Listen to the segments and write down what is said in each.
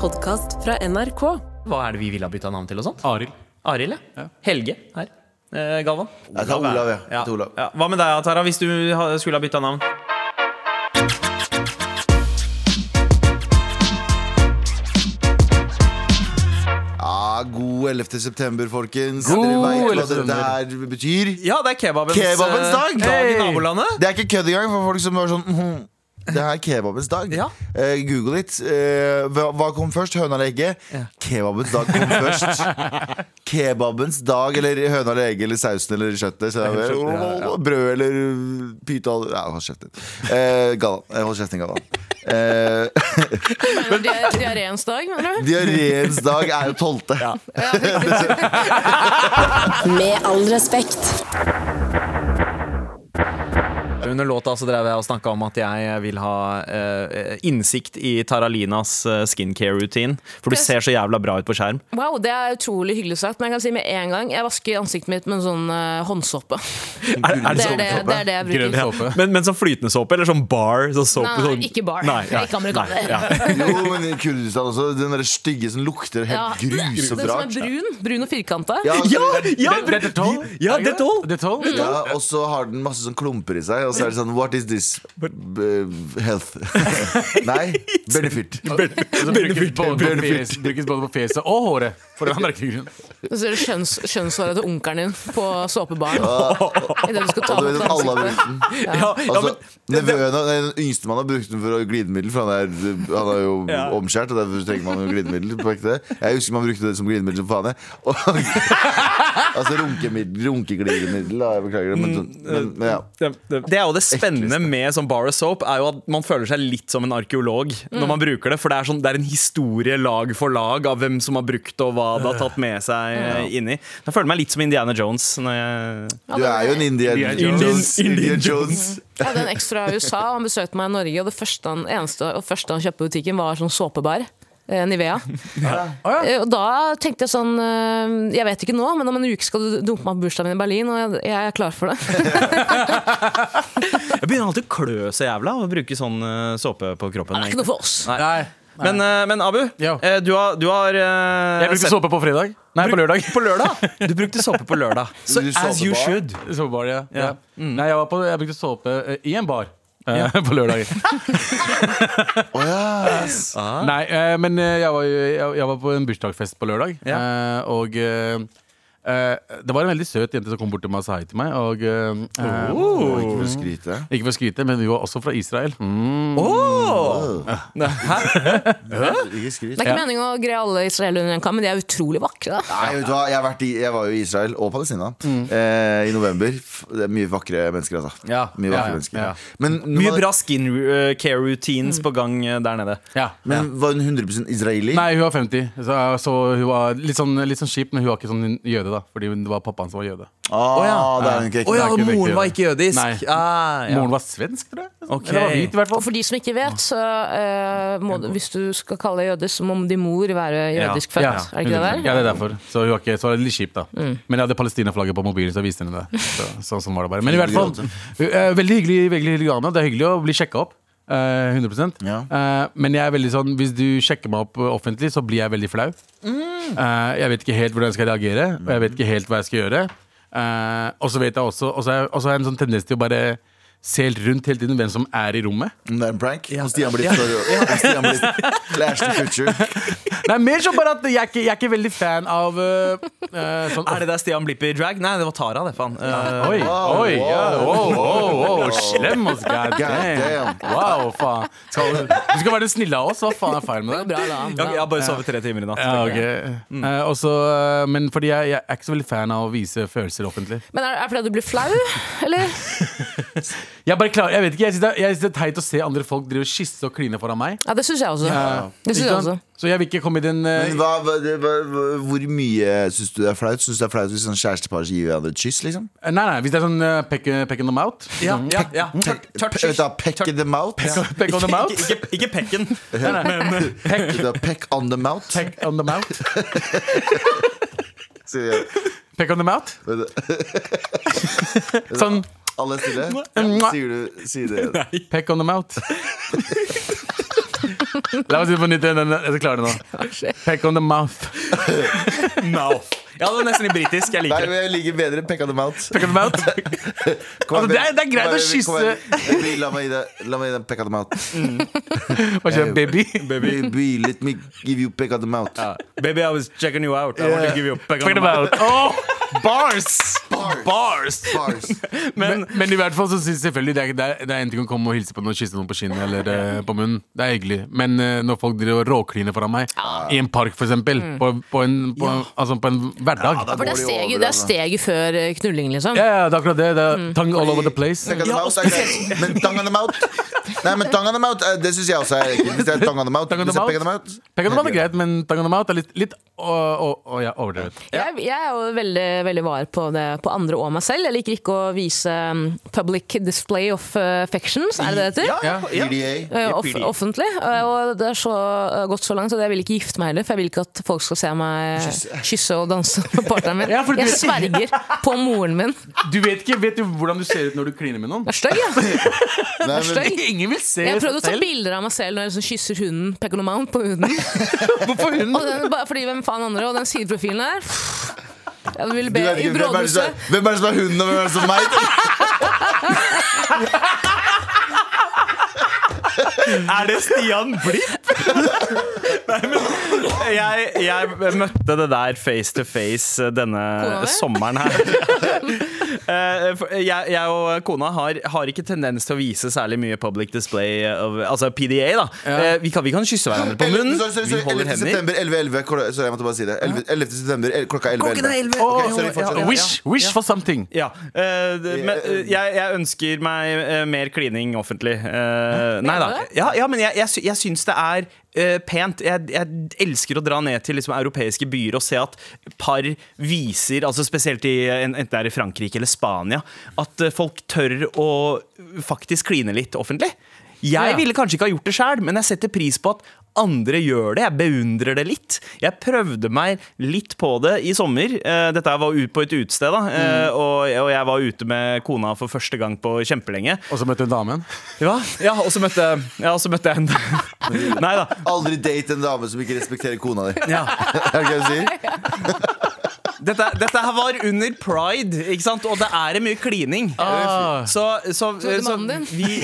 podkast fra NRK. Hva er det vi ville ha bytta navn til og sånt? Arild. Arild, ja. Helge her. Eh, Galvan. Jeg tar Olav, ja. Ja. Jeg tar Olav. Ja. Hva med deg, Tara, hvis du ha- skulle ha bytta navn? Ja, god 11. september, folkens. God Dere vet 11. hva dette her betyr. Ja, det er kebabens, Kebabens eh, dag! dag i Hey! nabolandet. Det er ikke kødd engang for folk som var sånn «Mhm, Det her er kebabens dag. Ja. Eh, Google it. Eh, hva, hva kom først? Høna eller egget? Kebabens dag kom først. Kebabens dag eller høna eller egget eller sausen eller kjøttet. Så, helt skjønt, ja, ja. Brød eller pyta Ja, hold kjeften. Eh, Galvan. Eh, Hold kjeften, Galvan. Eh, Diareens dag, mener du? Diareens dag er jo 12. Med all respekt. Under låta så drev jeg og snakka om at jeg vil ha eh, innsikt i Taralinas eh, skincare-routine. For du ser så jævla bra ut på skjerm. Wow, det er utrolig hyggelig sagt, men jeg kan si med en gang jeg vasker ansiktet mitt med en sånn eh, håndsåpe. Er, er Det det er sånn? det, det, er det jeg Grønn bruker. såpe. Men, men sånn flytende såpe, eller sånn bar? Sånn såpe, Nei, sånn... Ah, ikke bar. Ikke amerikaner. ja. Jo, men i Kurdistan også. Den derre stygge som lukter helt grusomt Den som er rart. brun, brun og firkanta. Ja, Ja, ja, Det er Detol? ja, Detol. Detol? Ja, og så har den masse sånn klumper i seg, og så er det sånn What is this? B- health. Nei, benefit. Altså, Som brukes både på fjes- brukes både på fjeset og håret. For det var merkelig grunn. Så ser du kjønns, kjønnshåret til onkelen din på såpebaren. I det du skal ta Og du vet med at alle har brukt ansiktet. den. Ja, ja, Altså, men, Nevøen av den yngste man har brukt den for glidemiddel, for han er, han er jo Ja. omskjært, og derfor trenger man jo glidemiddel på ekte. Jeg husker man brukte det som glidemiddel som faen, jeg. Og- Altså runkemiddel, runkeglidemiddel, da. Jeg beklager det, men, Mm, sånn- men, men ja. det, det, det er jo det spennende med sånn bar of soap, er jo at man føler seg litt som en arkeolog når man bruker det. For det er, sånn, det er en historie lag for lag av hvem som har brukt det, og hva det har tatt med seg eh, inni. Jeg føler meg litt som Indiana Jones. Når jeg Du er jo en Indian Indiana Jones. Jones. Indian Indiana Jones. Jeg hadde en ekstra i USA, og han besøkte meg i Norge. Og det første han, eneste og første han kjøpte på butikken, var sånn såpebar. eh, Nivea. Eh, Og da tenkte jeg sånn eh, Jeg vet ikke nå, men om en uke skal du dumpe meg på bursdagen min i Berlin, og jeg, jeg er klar for det. Jeg begynner alltid å klø så jævla av å bruke sånn eh, såpe på kroppen. Det er ikke noe for oss. Nei. Nei. Men, eh, men Abu, Ja. eh, du har, du har eh, Jeg brukte sett- såpe på fredag. Nei, på lørdag. På lørdag? Du brukte såpe på lørdag. Så Du as you såpebar? should. Såpebar, ja. ja. Mm. Nei, jeg, var på, jeg brukte såpe eh, i en bar. eh, På lørdager. Å ja. Nei, eh, men eh, jeg var, jo, jeg, jeg var på en bursdagsfest på lørdag. eh, Og eh, eh, det var en veldig søt jente som kom bort til meg og sa hei til meg. Og, eh, eh, Og Oh! ikke for å skryte. Ikke for å skryte, men vi var også fra Israel. Mm. Ikke skryt. Det er ikke meningen å greie alle israelere under en kam, men de er utrolig vakre. Da. Nei, vet du hva? Jeg, har vært i, jeg var jo i Israel og Palestina eh, i november. F- Det er mye vakre mennesker, altså. Ja, mye ja, vakre ja, mennesker. ja. Men, når Mye man- bra skin eh, care routines på gang eh, der nede. Ja. men var hun 100 israeli? Nei, hun var 50, så, så hun var litt sånn, litt sånn kjip, men hun var ikke sånn jøde, da. Fordi hun- det var pappaen som var jøde. Ah, Å, ja. det er hun ikke ekte. Å ja, Det er og ikke moren riktig, var det. ikke jødisk? Nei. Ah, ja. Moren var svensk, tror jeg. Ok. Eller var hvit, i hvert Og fall. for de som ikke vet, så eh, må, du- hvis du skal kalle deg jødisk, så må din mor være jødisk født. Er det ikke det der? Mm. Ja, det er derfor. Så hun var, ikke, så var det litt kjipt, da. Men jeg hadde palestinaflagget på mobilen, så jeg viste henne det. Så, så, sånn var det bare. Men i hvert fall, hun er veldig hyggelig, veldig hyggelig dame. Det er hyggelig å bli sjekka opp. eh, 100 Ja. Eh, Men jeg er veldig sånn hvis du sjekker meg opp eh, offentlig, så blir jeg veldig flau. Mm. Eh, jeg vet ikke helt hvordan jeg skal reagere, og jeg vet ikke helt hva jeg skal gjøre. Eh, og så vet jeg også Og så har jeg- og så har jeg en sånn tendens til å bare se helt rundt hele tiden hvem som er i rommet. Men Det er en prank. Om Stian blir Om Stian blir Clash the future. Nei, mer som bare at jeg er ikke, jeg er ikke veldig fan av eh, eh, sånn Er det der Stian Blipp i drag? Nei, det var Tara, det, faen. Eh, Oi, Wow, oi, wow, ja, wow, wow, wow, wow. slem ass, god damn damn. Wow, faen Skal, Du skal være den snille av oss, hva faen er feil med Det deg? går bra, da. jeg, jeg har bare sovet tre timer i natt. Ja, ok Eh, og så, eh, Men fordi jeg, jeg er ikke så veldig fan av å vise følelser offentlig Men er er det fordi du blir flau, eller? Jeg bare klarer, jeg vet ikke, jeg synes det, er- jeg synes det er teit å se andre folk drive og kysse og kline foran meg Ja, det syns jeg også. Det synes Ikke jeg sant? også. Så jeg vil ikke komme i den eh, Men hva, hva, det- hva, hva- hvor mye syns du det er flaut? Syns du det er flaut hvis sånn kjærestepar gir hverandre et kyss? liksom? Nei, nei, hvis det er sånn eh, peck, peck on them out Ja, ja, ja. Pe- vet du, da, Peck in the mouth? Peck on them out Ikke, ikke, ikke pekken. Nei, nei, Vet du, da, Peck on the mouth? Peck on them out Sier jeg. Peck on them out Vet du, Sånn, Alle er stille? Sier du sier det? peck on them out La meg si det på nytt igjen. den- Jeg skal klare det nå. Peck on the mouth. Mouth. Ja, det er nesten litt britisk. Jeg Nei, liker det. men jeg liker bedre Peck on the Mouth. Peck on the mouth. Kom her, Altså, det er- baby. det er greit Kom å her, baby. Kom her. kysse. Baby, La meg gi deg- la meg gi deg Peck on the Mouth. Hva skjer, baby? Baby, let me give you Peck on the Mouth. Ja. Baby, I was checking you out. I want to give you a peck on Peck the on the mouth. Åh! Bars! Bars. Bars! Bars. Men, men i hvert fall så synes jeg selvfølgelig det er, det, er, det er en ting å komme og hilse på noen og kysse noen på kinnet eller eh, på munnen. Det er hyggelig. Men eh, når folk driver og råkliner foran meg, i en park f.eks., eksempel på, på, en, på, altså på en hverdag Ja, da ja, går For det er det over, steget, det er altså. steget før eh, knulling, liksom. ja, det er akkurat det. det er Tongue all over the place. Peck on the Ja, Mouth er greit. Men tang on the mouth Nei, men tang on the mouth, eh, det syns jeg også er ekkelt. Hvis det er tang on the mouth. Tongue on the Hvis det er Peck on the mouth. mouth Peck on the mouth er greit, men tongue on the mouth er litt, litt å, å, å, ja, overdrevet. Jeg, jeg er jo veldig, veldig var på det på andre og meg selv. Jeg liker ikke å vise mm, public display of eh, affections, er det det heter? Ja, E ja. PDA. Eh, Off, offentlig. Eh, Og det er så eh, gått så langt at jeg vil ikke gifte meg heller, for jeg vil ikke at folk skal se meg kysse og danse med partneren min. Ja, for du- Jeg sverger på moren min. Du vet ikke vet du hvordan du ser ut når du kliner med noen? Det er støy, ja. Nei, Det er men- støy. Ingen vil se Jeg har seg prøvd å ta selv. bilder av meg selv når jeg liksom kysser hunden Peconomount på hunden. Hvorfor hun? Og den, bare fordi hvem faen andre, og den sideprofilen der Jeg vil Du be vet i ikke, hvem, er det som, brådhuset. er- hvem er det som er hunden, og hvem er det som er meg? Er det Stian Blipp? Nei, men jeg, jeg møtte det der face to face eh, denne Kona di? sommeren her. Eh, for Jeg, jeg og kona har, har ikke tendens til å vise særlig mye public display, of, altså PDA, da. Eh, Vi kan, vi kan kysse hverandre på 11, munnen. sorry, sorry, Vi holder 11. hender. september 11.11. klo- Sorry, jeg måtte bare si det. 11. 11. september el- klokka 11.11. Klokken er 11. Ok, Åh, sorry, ja, fortsett. ja. Wish, wish for something. Ja. eh, det- men eh, jeg, jeg ønsker meg eh, mer klining offentlig. Eh, nei da. det? Ja, ja men jeg, jeg, sy- jeg syns det er eh, pent. Jeg, jeg elsker å dra ned til liksom, europeiske byer og se at par viser, altså spesielt i, en- enten det er i Frankrike eller Spania, at eh, folk tør å faktisk kline litt offentlig. Jeg Ja. ville kanskje ikke ha gjort det sjøl, men jeg setter pris på at andre gjør det. Jeg beundrer det litt. Jeg prøvde meg litt på det i sommer. Eh, Dette her var ut på et utested, da. eh, Og, og jeg var ute med kona for første gang på kjempelenge. Og så møtte hun damen. Ja, ja og så møtte, ja, og så møtte jeg henne. Nei da. Aldri date en dame som ikke respekterer kona di. Ja. Er det hva jeg sier? Dette, dette her var under pride, ikke sant? og det er mye klining. Ah. Så, så, Trodde mannen din. vi,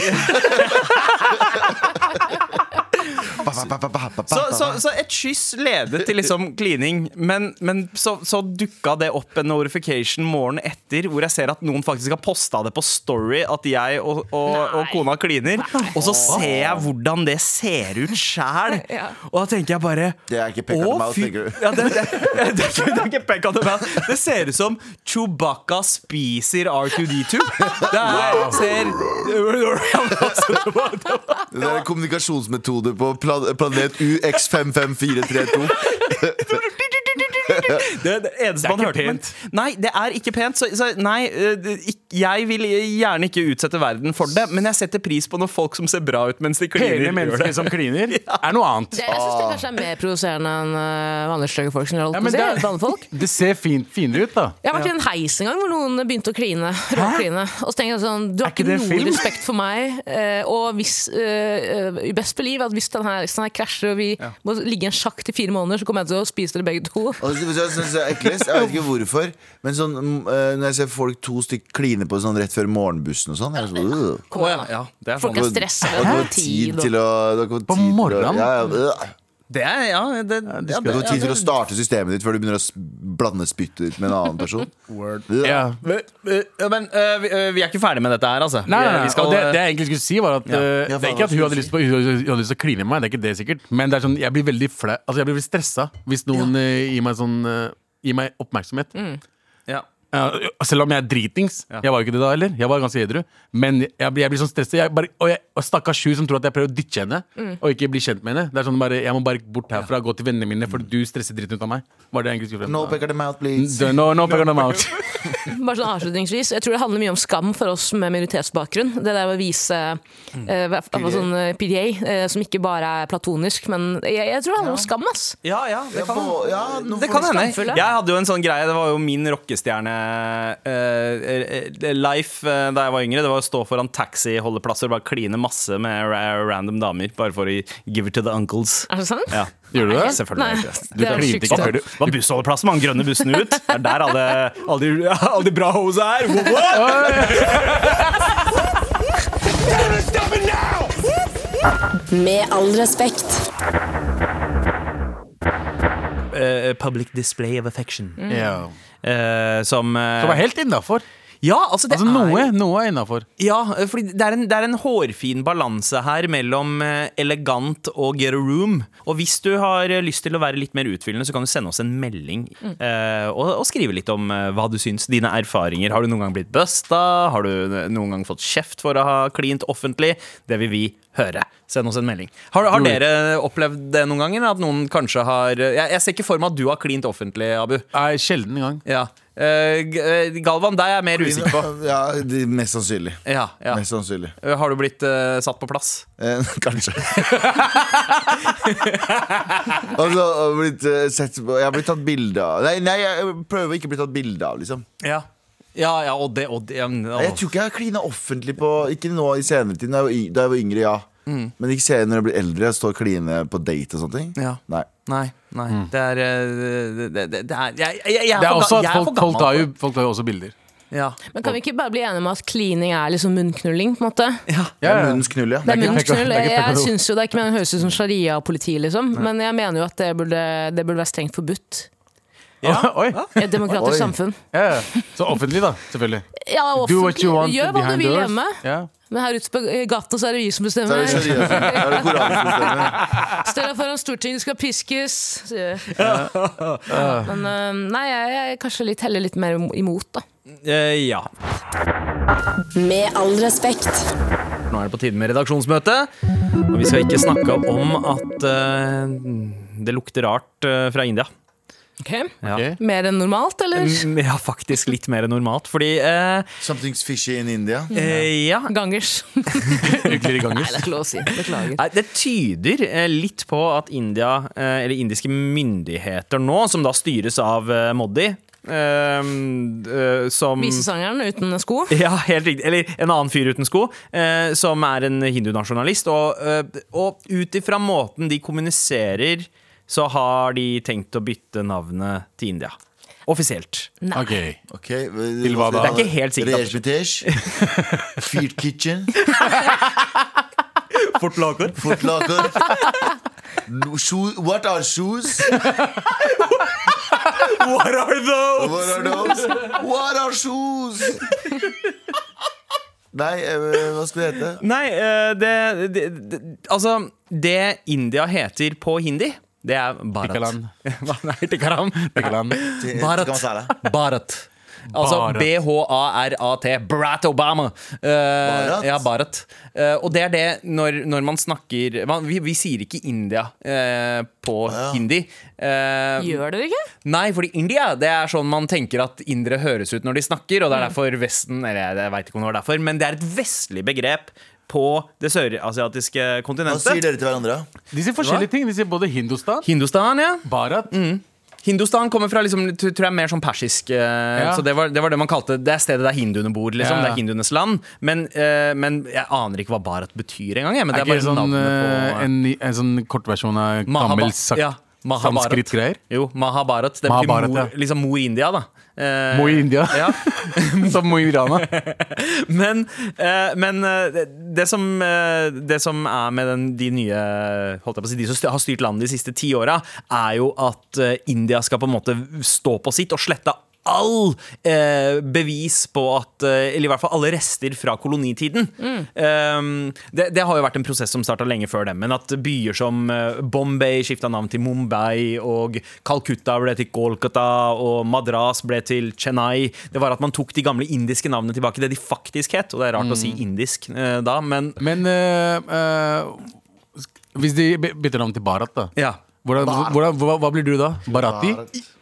Ba, ba, ba, ba, ba, ba, så, ba. så, så et kyss ledet til liksom klining, men, men så, så dukka det opp en notification morgenen etter hvor jeg ser at noen faktisk har posta det på Story at jeg og, og, og Nei. kona kliner. Og så ser jeg hvordan det ser ut sjæl, Ja. og da tenker jeg bare Det er ikke peck on Å, the mouth, fy- tenker du. Ja, det, det, det, er ikke- det er ikke peck on the mouth. Det ser ut som Chewbacca spiser R2D2. Det er, ser Det er en kommunikasjonsmetode på plan planet UX55432. Det, det eneste Det er man ikke hørte men- pent. Nei, det er ikke pent. Så, så nei, eh, det- ikk- jeg vil gjerne ikke utsette verden for det, men jeg setter pris på når folk som ser bra ut mens de kliner, Pene gjør mennesker det. som kliner, er noe annet. Det, jeg syns det kanskje er mer provoserende enn eh, vanlige stygge folk. som jeg holdt på å si, det, eller vanlige folk. det ser fint, finere ut, da. Jeg har vært i en heis en gang hvor noen begynte å kline. råkline. Og så tenker jeg sånn, Du har Er ikke ikke det noe film? respekt for meg. eh, Og hvis, eh, eh, i best believe at hvis den her, hvis den her krasjer og vi må ligge i en sjakk til fire måneder, så kommer jeg til å spise dere begge to. Og det synes jeg er eklest. Jeg vet ikke hvorfor. Men sånn, mm, eh, når jeg ser folk to stykk kline på sånn rett før morgenbussen og sånn jeg er sånn, øh. Kom igjen, Å, ja, ja, det er Folk sant. er stressa. Og du har tid til å du har ikke tid til å- morgenen? Ja, ja, øh. Det er, ja, det, ja, Du det har tid til å starte systemet ditt før du begynner å s- blande spyttet ditt med en annen person. Word. Ja. Men, eh, men eh, vi, eh, vi er ikke ferdig med dette her, altså. Nei, nei, Vi- nei. vi skal, og det, det jeg egentlig skulle si, var at eh, Ja, Det faen, er ikke at hun hva skulle hadde lyst, på, hun hadde hun hadde lyst til å kline med meg, det er ikke det sikkert. Men det er sånn, jeg blir veldig flau Altså, jeg blir veldig stressa hvis noen eh, gir meg sånn eh, Gir meg oppmerksomhet. Mm. ja. Eh, selv om jeg er dritings. Jeg var jo ikke det da heller. Jeg var ganske edru. Men jeg, blir- jeg blir sånn stressa. Jeg bare, og jeg, og stakkars hun som tror at jeg prøver å ditche henne. Mm. Og ikke bli kjent med henne. Det er sånn bare, Jeg må bare bort herfra, gå til vennene mine, for du stresser dritten ut av meg. Var det jeg egentlig skulle frem til. No pecker them out, please. No, no, no, no, no, no. Bare sånn avslutningsvis Jeg tror det handler mye om skam for oss med minoritetsbakgrunn. Det der å vise eh, hva- hva sånn eh, PDA, eh, som ikke bare er platonisk, men jeg, jeg tror det handler om skam. ass Ja, ja, det Ja, kan, på- ja, nå det får kan vi hende. skamfulle. Jeg hadde jo en sånn greie, det var jo min rockestjerne eh, eh, life eh, da jeg var yngre. Det var å stå foran taxiholdeplasser og bare kline masse med ra random damer. Bare for å give it to the uncles. Er det sant? Ja. Gjør du det? Selvfølgelig. Nei, gjør jeg det. det er klinte det ikke sykeste. Var, var bussholdeplassen med han grønne bussen ut? Det er der alle, alle, de, alle de bra hosa er! Wow, wow. Med all respekt. Eh, public display of affection. Mm. Ja. Eh, som eh, Det var helt innafor. Ja, altså, det Altså, er noe, noe er innafor. Ja, fordi det er en, det er en hårfin balanse her mellom eh, elegant og get a room. Og hvis du har eh, lyst til å være litt mer utfyllende, så kan du sende oss en melding eh, og, og skrive litt om eh, hva du syns. Dine erfaringer. Har du noen gang blitt busta? Har du eh, noen gang fått kjeft for å ha klint offentlig? Det vil vi høre. Send oss en melding. Har, har dere opplevd det noen ganger? At noen kanskje har eh, Jeg, jeg ser ikke for meg at du har klint offentlig, Abu. Nei, Sjelden gang. Ja. Eh, G- eh, Galvan, deg er jeg mer usikker på. Ja, de, mest sannsynlig. Ja, ja. Mest sannsynlig. Har du blitt eh, satt på plass? Eh, kanskje. altså, jeg har blitt eh, sett på Jeg har blitt tatt bilde av. Nei, nei, jeg prøver å ikke å bli tatt bilde av, liksom. Ja, ja, ja og det, og det ja, men- Jeg tror ikke jeg har klina offentlig på Ikke nå i senere tid, da jeg var y- da jeg var yngre, ja. Men ikke senere når jeg blir eldre, jeg står og kline på date og sånne ting. Ja. Nei. Nei, nei, det er eh, Det, det, Mm. det er jeg, jeg, jeg er Det er for ga- også at jeg er folk, for folk, gammel tar jo, for- folk tar jo også bilder. ja. Men kan vi ikke bare bli enige om at klining er liksom munnknulling? på en måte? Det er munnens knull, ja. Det er ikke munnens pekka- knull. det er ikke Jeg pekka- syns jo det er ikke meningen å høres ut som sharia og politi, liksom. Men jeg mener jo at det burde, det burde være strengt forbudt Oi. i et demokratisk Oi. samfunn. Ja, ja. Så offentlig, da. Selvfølgelig. Ja, Do what offentlig. you want Gjør hva du behind vil doors. hjemme. Ja. Men her ute på gata så er det vi som Så er det bestemmer. sharia. Da er det Koranen som bestemmer. Stell deg foran Stortinget, du skal piskes. sier jeg. Men eh, nei, jeg jeg er kanskje litt heller litt mer imot, da. Eh, ja. Med all respekt. Nå er det på tide med redaksjonsmøte. Og vi skal ikke snakke om at eh, det lukter rart eh, fra India. Ja. Ok. Mer enn normalt, eller? Mm, ja, faktisk litt mer enn normalt, fordi eh, Something's fishy in India. eh, Ja. Gangers. Hyggeligere Nei, ganger. det er ikke lov å si. Beklager. Nei, det tyder eh, litt på at India, eh, eller indiske myndigheter nå, som da styres av eh, Modi eh, eh, som Visesangeren uten sko. ja, helt riktig. Eller en annen fyr uten sko, eh, som er en hindunasjonalist. Og, eh, og ut ifra måten de kommuniserer, så har de tenkt å bytte navnet til India. Offisielt. Ok. Ok, Til hva da? Det er ikke helt sikkert at- Rejmetesh. Feed kitchen. Fort lager. Fotlaker. No, shoe, what are shoes? What are those? What are those? What are shoes? Nei, eh, hva skal det hete? Nei, eh, det, det, det Altså, det India heter på hindi, det er Bharat. Tikkalan. Hva- Nei, tikkalan. Tikkalan. Bharat. Tikka masala. Bharat. Altså Bharat. B-H-A-R-A-T. Brat Obama. Eh, Ja, Bharat. Eh, og det er det når, når man snakker man, vi, vi sier ikke India eh, på hindi. Eh, Gjør dere ikke? Nei, fordi India det er sånn man tenker at indere høres ut når de snakker, og det er derfor Vesten Eller jeg vet ikke om det var derfor, men det er et vestlig begrep på det sørasiatiske Hva sier kontinentet. dere til hverandre? De sier forskjellige ting. De sier både Hindustan, Hindustan, ja. Bharat Mm, Hindustan kommer fra liksom, t- tror jeg, mer sånn persisk eh, Ja. Så det var, det var det man kalte Det er stedet der hinduene bor, liksom. Ja. Det er hinduenes land. Men, eh, men jeg aner ikke hva Bharat betyr engang. jeg, Men det Er er ikke bare sånn, navnet eh, på en, ny- en sånn kortversjon av Mahaba- gammel ja, Mahabharat. sanskrit-greier? Jo, Mahabharat. Det betyr Mahabharat, mor, ja. liksom mor India, da. Eh, Mo i India. ja. Som Mo i Rana. Men, eh, men eh, det, det, som, eh, det som er med den, de nye holdt jeg på å si, De som st- har styrt landet de siste ti åra, er jo at eh, India skal på en måte stå på sitt og slette all eh, bevis på at eh, Eller i hvert fall alle rester fra kolonitiden. Eh, det, det har jo vært en prosess som starta lenge før dem. Men at byer som eh, Bombay skifta navn til Mumbai, og Calcutta ble til Kolkata, og Madras ble til Chennai Det var at man tok de gamle indiske navnene tilbake, det de faktisk het. Og det er rart å Mm. si indisk eh, da, men Men eh, eh, hvis de by- bytter navn til Bharat, da ja. Hvordan, hvordan, hva, hva blir du da? Barati?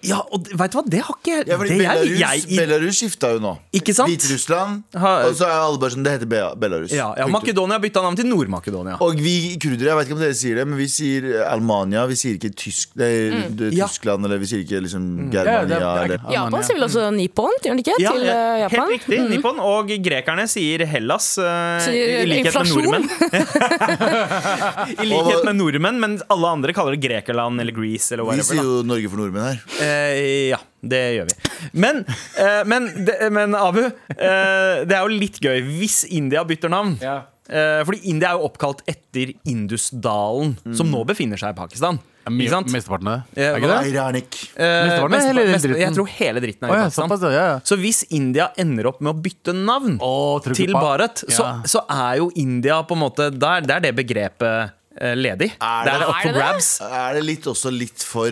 Ja, og det- vet du hva, det har ikke Ja, fordi det er Belarus, jeg, Belarus skifta jo nå. Ikke sant? Hviterussland. Ha- Og så er alle bare sånn Det heter Be- Belarus. ja, ja, Punktum. Makedonia bytta navn til Nord-Makedonia. Og vi kurdere, jeg vet ikke om dere sier det, men vi sier Almania. Vi sier ikke tysk, nei, det- Ja. Tyskland, eller vi sier ikke liksom Mm. Ja, det Germania. er- det er eller ikke- Japan sier vel også Nippon, gjør de ikke? Ja, til eh, helt Japan. riktig. Nippon. Og grekerne sier Hellas, eh, Sier i likhet med inflasjon. nordmenn. I likhet Og- med nordmenn, men alle andre kaller det Grekerland eller Greece eller Vi whatever. sier da. jo Norge for nordmenn her. Eh, ja, det gjør vi. Men, eh, men, det- men Abu, eh, det er jo litt gøy hvis India bytter navn. Ja. Eh, fordi India er jo oppkalt etter Indusdalen, som nå befinner seg i Pakistan. Mm. Mye- Ikke sant? Mesteparten av det? Ja, Er ikke det? Ironic. Eh, Mesteparten, mesteparten- eller hele meste- dritten? Jeg tror hele dritten er Å i ja, Pakistan. såpass, ja, ja, ja. Så hvis India ender opp med å bytte navn Å, tror du til ikke på- Bharat, så, Ja. så er jo India på en måte Der, der er det begrepet eh, ledig. Er der det- er det up for er det det? grabs. Er det litt også litt for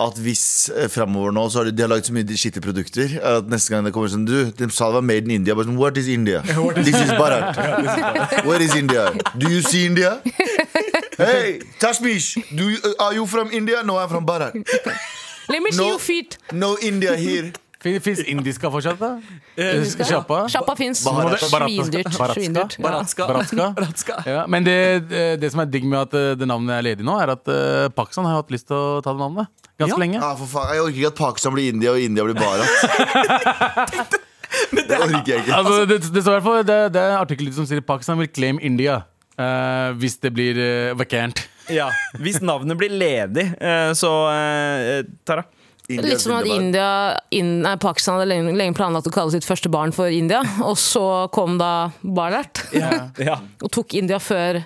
at hvis eh, fremover nå Så har de, de har laget så mye skitne produkter At neste gang det kommer sånn Du, de sa det var made in India Bare sånn, what is India? This is Bharat Where is India? Do you see India? Hey, Tashmish do you, Are you from India? No, I'm from Bharat Let me see No. your feet. No India here Fins indiska fortsatt, da? Sjappa? Sjappa fins. Barat- Svindyrt. svindyrt. Ja. Baratska. Baratska. Baratska. Ja, men det, det det som er digg med at eh, det navnet er ledig nå, er at eh, Pakistan har hatt lyst til å ta det navnet ganske Ja. lenge. ah, for faen, Jeg orker ikke at Pakistan blir India Og India blir Bharat Det orker jeg ikke Altså, det, det, står i hvert fall, det, det er artikler som sier Pakistan vil claim India eh, hvis det blir eh, vakant. Ja. Hvis navnet blir ledig, eh, så eh, Tara. India, Litt som at India, Bharat. India, in, nei, Pakistan hadde lenge, lenge planlagt å kalle sitt første barn for India, og så kom da Barnert Ja. og tok India før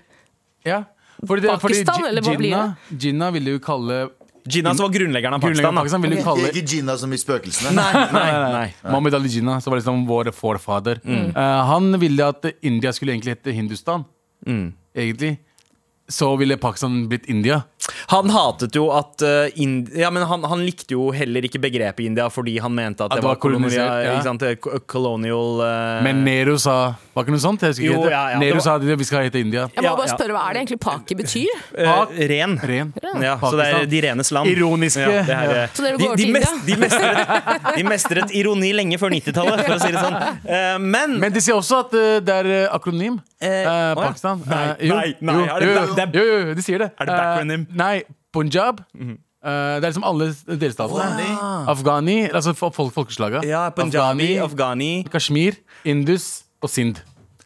Ja. Fordi det, Pakistan, Ji- eller hva blir Jinnah- Jinnah ville jo kalle Gina, som var grunnleggeren av Pakistan. Grunnleggeren av da. Pakistan ville jo kalle Ikke Gina som i spøkelsene Nei, nei, nei. Mohammed Ali Jinnah, som var liksom vår forfader, Mm. eh, han ville at India skulle egentlig hete Hindustan. Mm. Egentlig. Så ville Pakistan blitt India. Han hatet jo at eh, Ind ja, men han, han likte jo heller ikke begrepet India fordi han mente at, det var, kolonisert, kolonia- ja. ikke sant, eh, ko- colonial eh, Men Nero sa Var ikke noe sånt? Jeg husker Jo, ikke det. ja, ja, Nero det sa at vi skal hete India. Jeg må Ja, bare ja. spørre, Hva er det egentlig paki betyr? eh, Pak- ren. Ren. Ja, så det er Pakistan. de renes land. Ironiske. Ja, det er, eh, Så dere de, går over de, til mest, de, mestret, de mestret ironi lenge før 90-tallet, for å si det sånn. Eh, men Men de sier også at eh, det er eh, akronym. Eh, å ja. Pakistan. Nei, Eh, jo, nei, nei, jo, er det jo, back- det er- jo, jo, de sier det. Er det Eh, backronym? nei, Punjab. Eh, det er liksom alle delstatene. Afghani, altså fo- folk, folkeslaga. ja, Punjabi, Afghani, Afghani Kashmir, Indus og Sind.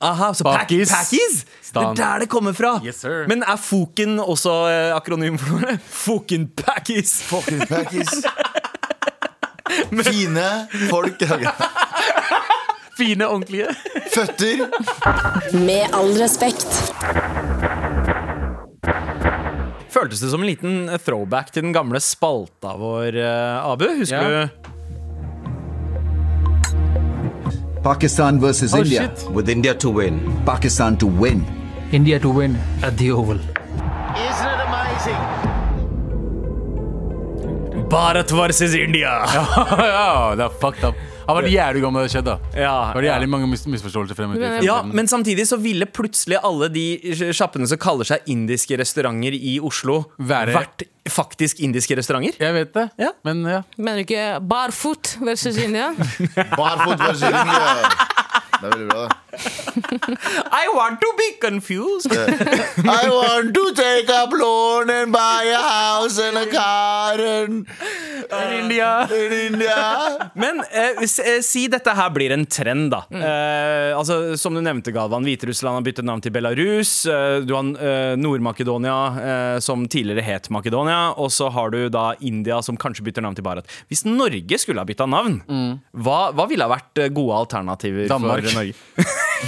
Aha, så pak- Pakis. Pakis? Det er Stan. der det kommer fra. Yes, sir. Men er Foken også eh, akronym for noe? Foken Pakis! Fucking packis. Fine folk. Fine, ordentlige. Føtter. Med all respekt. Føltes det som en liten eh, throwback til den gamle spalta vår, eh, Abu? Husker Ja. du? Pakistan versus Oh, India. shit. With India to win. Pakistan to win. India to win at the Oval. Bharat versus India! ja, det er fucked up. Han var jævlig gammel da det skjedde. da. Ja, Det var jævlig mange mis misforståelser frem og til- ja, men samtidig så ville plutselig alle de sjappene som kaller seg indiske restauranter i Oslo, Være- vært faktisk indiske restauranter. Jeg vet det, Ja. men ja. Mener du ikke barfoot versus India? Barfot versering. Ja. Det er veldig bra. det. I want to be confused! I want to take up loan and buy a house and a car and in India. Men eh, s- eh, si dette her blir en trend, da. Eh, altså, som du nevnte, Galvan. Hviterussland har byttet navn til Belarus. Eh, du har eh, Nord-Makedonia, eh, som tidligere het Makedonia. Og så har du da India, som kanskje bytter navn til Bharat. Hvis Norge skulle ha bytta navn, hva, hva ville ha vært eh, gode alternativer Danmark. for Norge?